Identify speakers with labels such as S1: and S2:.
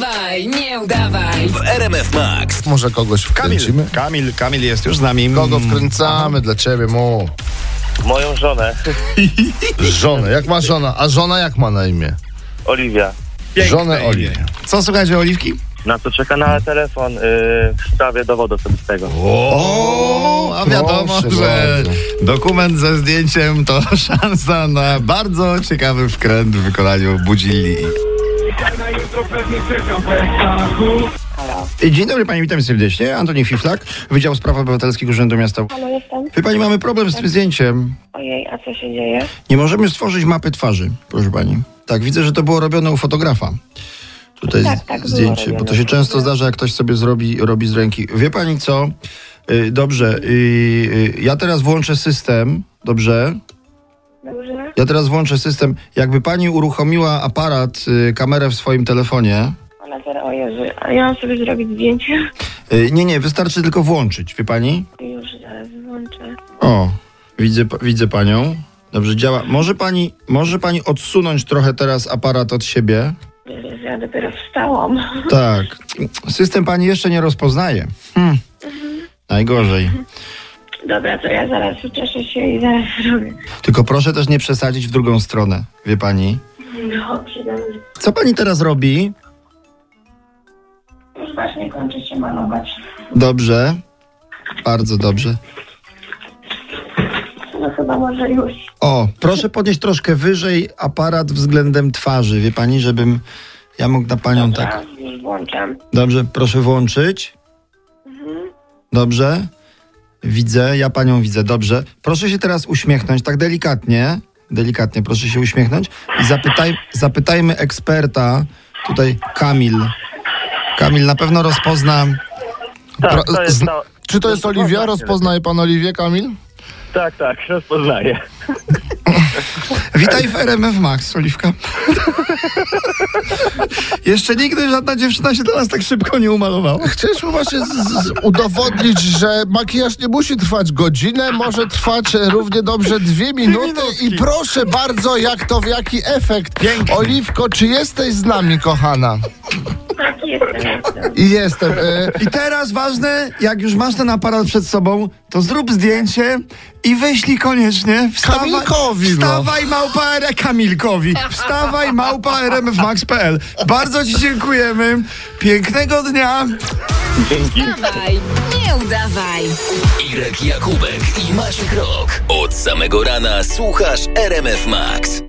S1: Dawaj, nie udawaj.
S2: RMF Max.
S3: Może kogoś wkręcimy?
S4: Kamil, Kamil, Kamil jest już z nami.
S3: Kogo wkręcamy dla ciebie, mu?
S5: Moją żonę,
S3: Żonę. Jak ma żona? A żona jak ma na imię?
S5: Oliwia.
S4: Piękne
S3: żonę
S4: imię.
S3: Oliwię.
S4: Co słuchajcie, Oliwki?
S5: Na co czeka na telefon yy, w sprawie dowodu osobistego.
S4: O, a wiadomo,
S3: proszę
S4: że
S3: bardzo.
S4: dokument ze zdjęciem to szansa na bardzo ciekawy wkręt w wykonaniu budzili. Dzień dobry Pani, witam serdecznie. Antoni Fiflak, Wydział Spraw Obywatelskich Urzędu Miasta.
S6: Halo, jestem.
S4: Wie Pani, mamy problem z tym zdjęciem.
S6: Ojej, a co się dzieje?
S4: Nie możemy stworzyć mapy twarzy, proszę Pani. Tak, widzę, że to było robione u fotografa. Tutaj
S6: Tak, tak, było
S4: zdjęcie, bo to
S6: robione.
S4: się często zdarza, jak ktoś sobie zrobi, robi z ręki. Wie Pani co? Y, Dobrze, y, y, ja teraz włączę system, dobrze?
S6: Dobrze?
S4: Ja teraz włączę system. Jakby Pani uruchomiła aparat, y, kamerę w swoim telefonie,
S6: Ona teraz, o Jezu, a ja mam sobie zrobić zdjęcie?
S4: Y, Nie, nie, wystarczy tylko włączyć, wie pani?
S6: Już zaraz włączę.
S4: O, widzę, pa- widzę panią. Dobrze działa. Może pani, może pani odsunąć trochę teraz aparat od siebie?
S6: Jezus, ja dopiero wstałam.
S4: Tak. System pani jeszcze nie rozpoznaje. Hmm. Najgorzej.
S6: Dobra, to ja zaraz uczeszę się i zaraz zrobię.
S4: Tylko proszę też nie przesadzić w drugą stronę, wie pani?
S6: Dobrze, dobrze.
S4: Co pani teraz robi?
S6: Już właśnie kończę się malować.
S4: Dobrze. Bardzo dobrze.
S6: No chyba może już.
S4: O, proszę podnieść troszkę wyżej aparat względem twarzy, wie pani, żebym ja mógł na panią tak.
S6: A, już włączam.
S4: Dobrze, proszę włączyć. Dobrze. Widzę, ja panią widzę, dobrze. Proszę się teraz uśmiechnąć, tak delikatnie. Delikatnie, proszę się uśmiechnąć. I zapytaj, zapytajmy eksperta, tutaj Kamil. Kamil na pewno rozpozna.
S5: Tak,
S3: Pro-
S5: to jest
S3: zn-
S5: to.
S3: Czy to jest Oliwia? Rozpoznaje pan Oliwię, Kamil?
S5: Tak, tak, rozpoznaję.
S4: Witaj w RMF Max, Oliwka. Jeszcze nigdy żadna dziewczyna się do nas tak szybko nie umalowała.
S3: Chcieliśmy właśnie z, z, udowodnić, że makijaż nie musi trwać godzinę, może trwać e, równie dobrze dwie minuty.
S4: minutki.
S3: I proszę bardzo, jak to, w jaki efekt. Oliwko, czy jesteś z nami, kochana?
S6: Tak, jestem, jestem.
S3: I jestem. E,
S4: I teraz ważne, jak już masz ten aparat przed sobą, to zrób zdjęcie i wyślij koniecznie. Wstawaj,
S3: Kamilkowi, no.
S4: Wstawaj małpa R- E Kamilkowi. Wstawaj małpa rmfmax.pl. Bardzo Ci dziękujemy. Pięknego dnia.
S1: Dawaj, nie udawaj.
S2: Irek Jakubek i Maciek Rok. Od samego rana słuchasz RMF Max.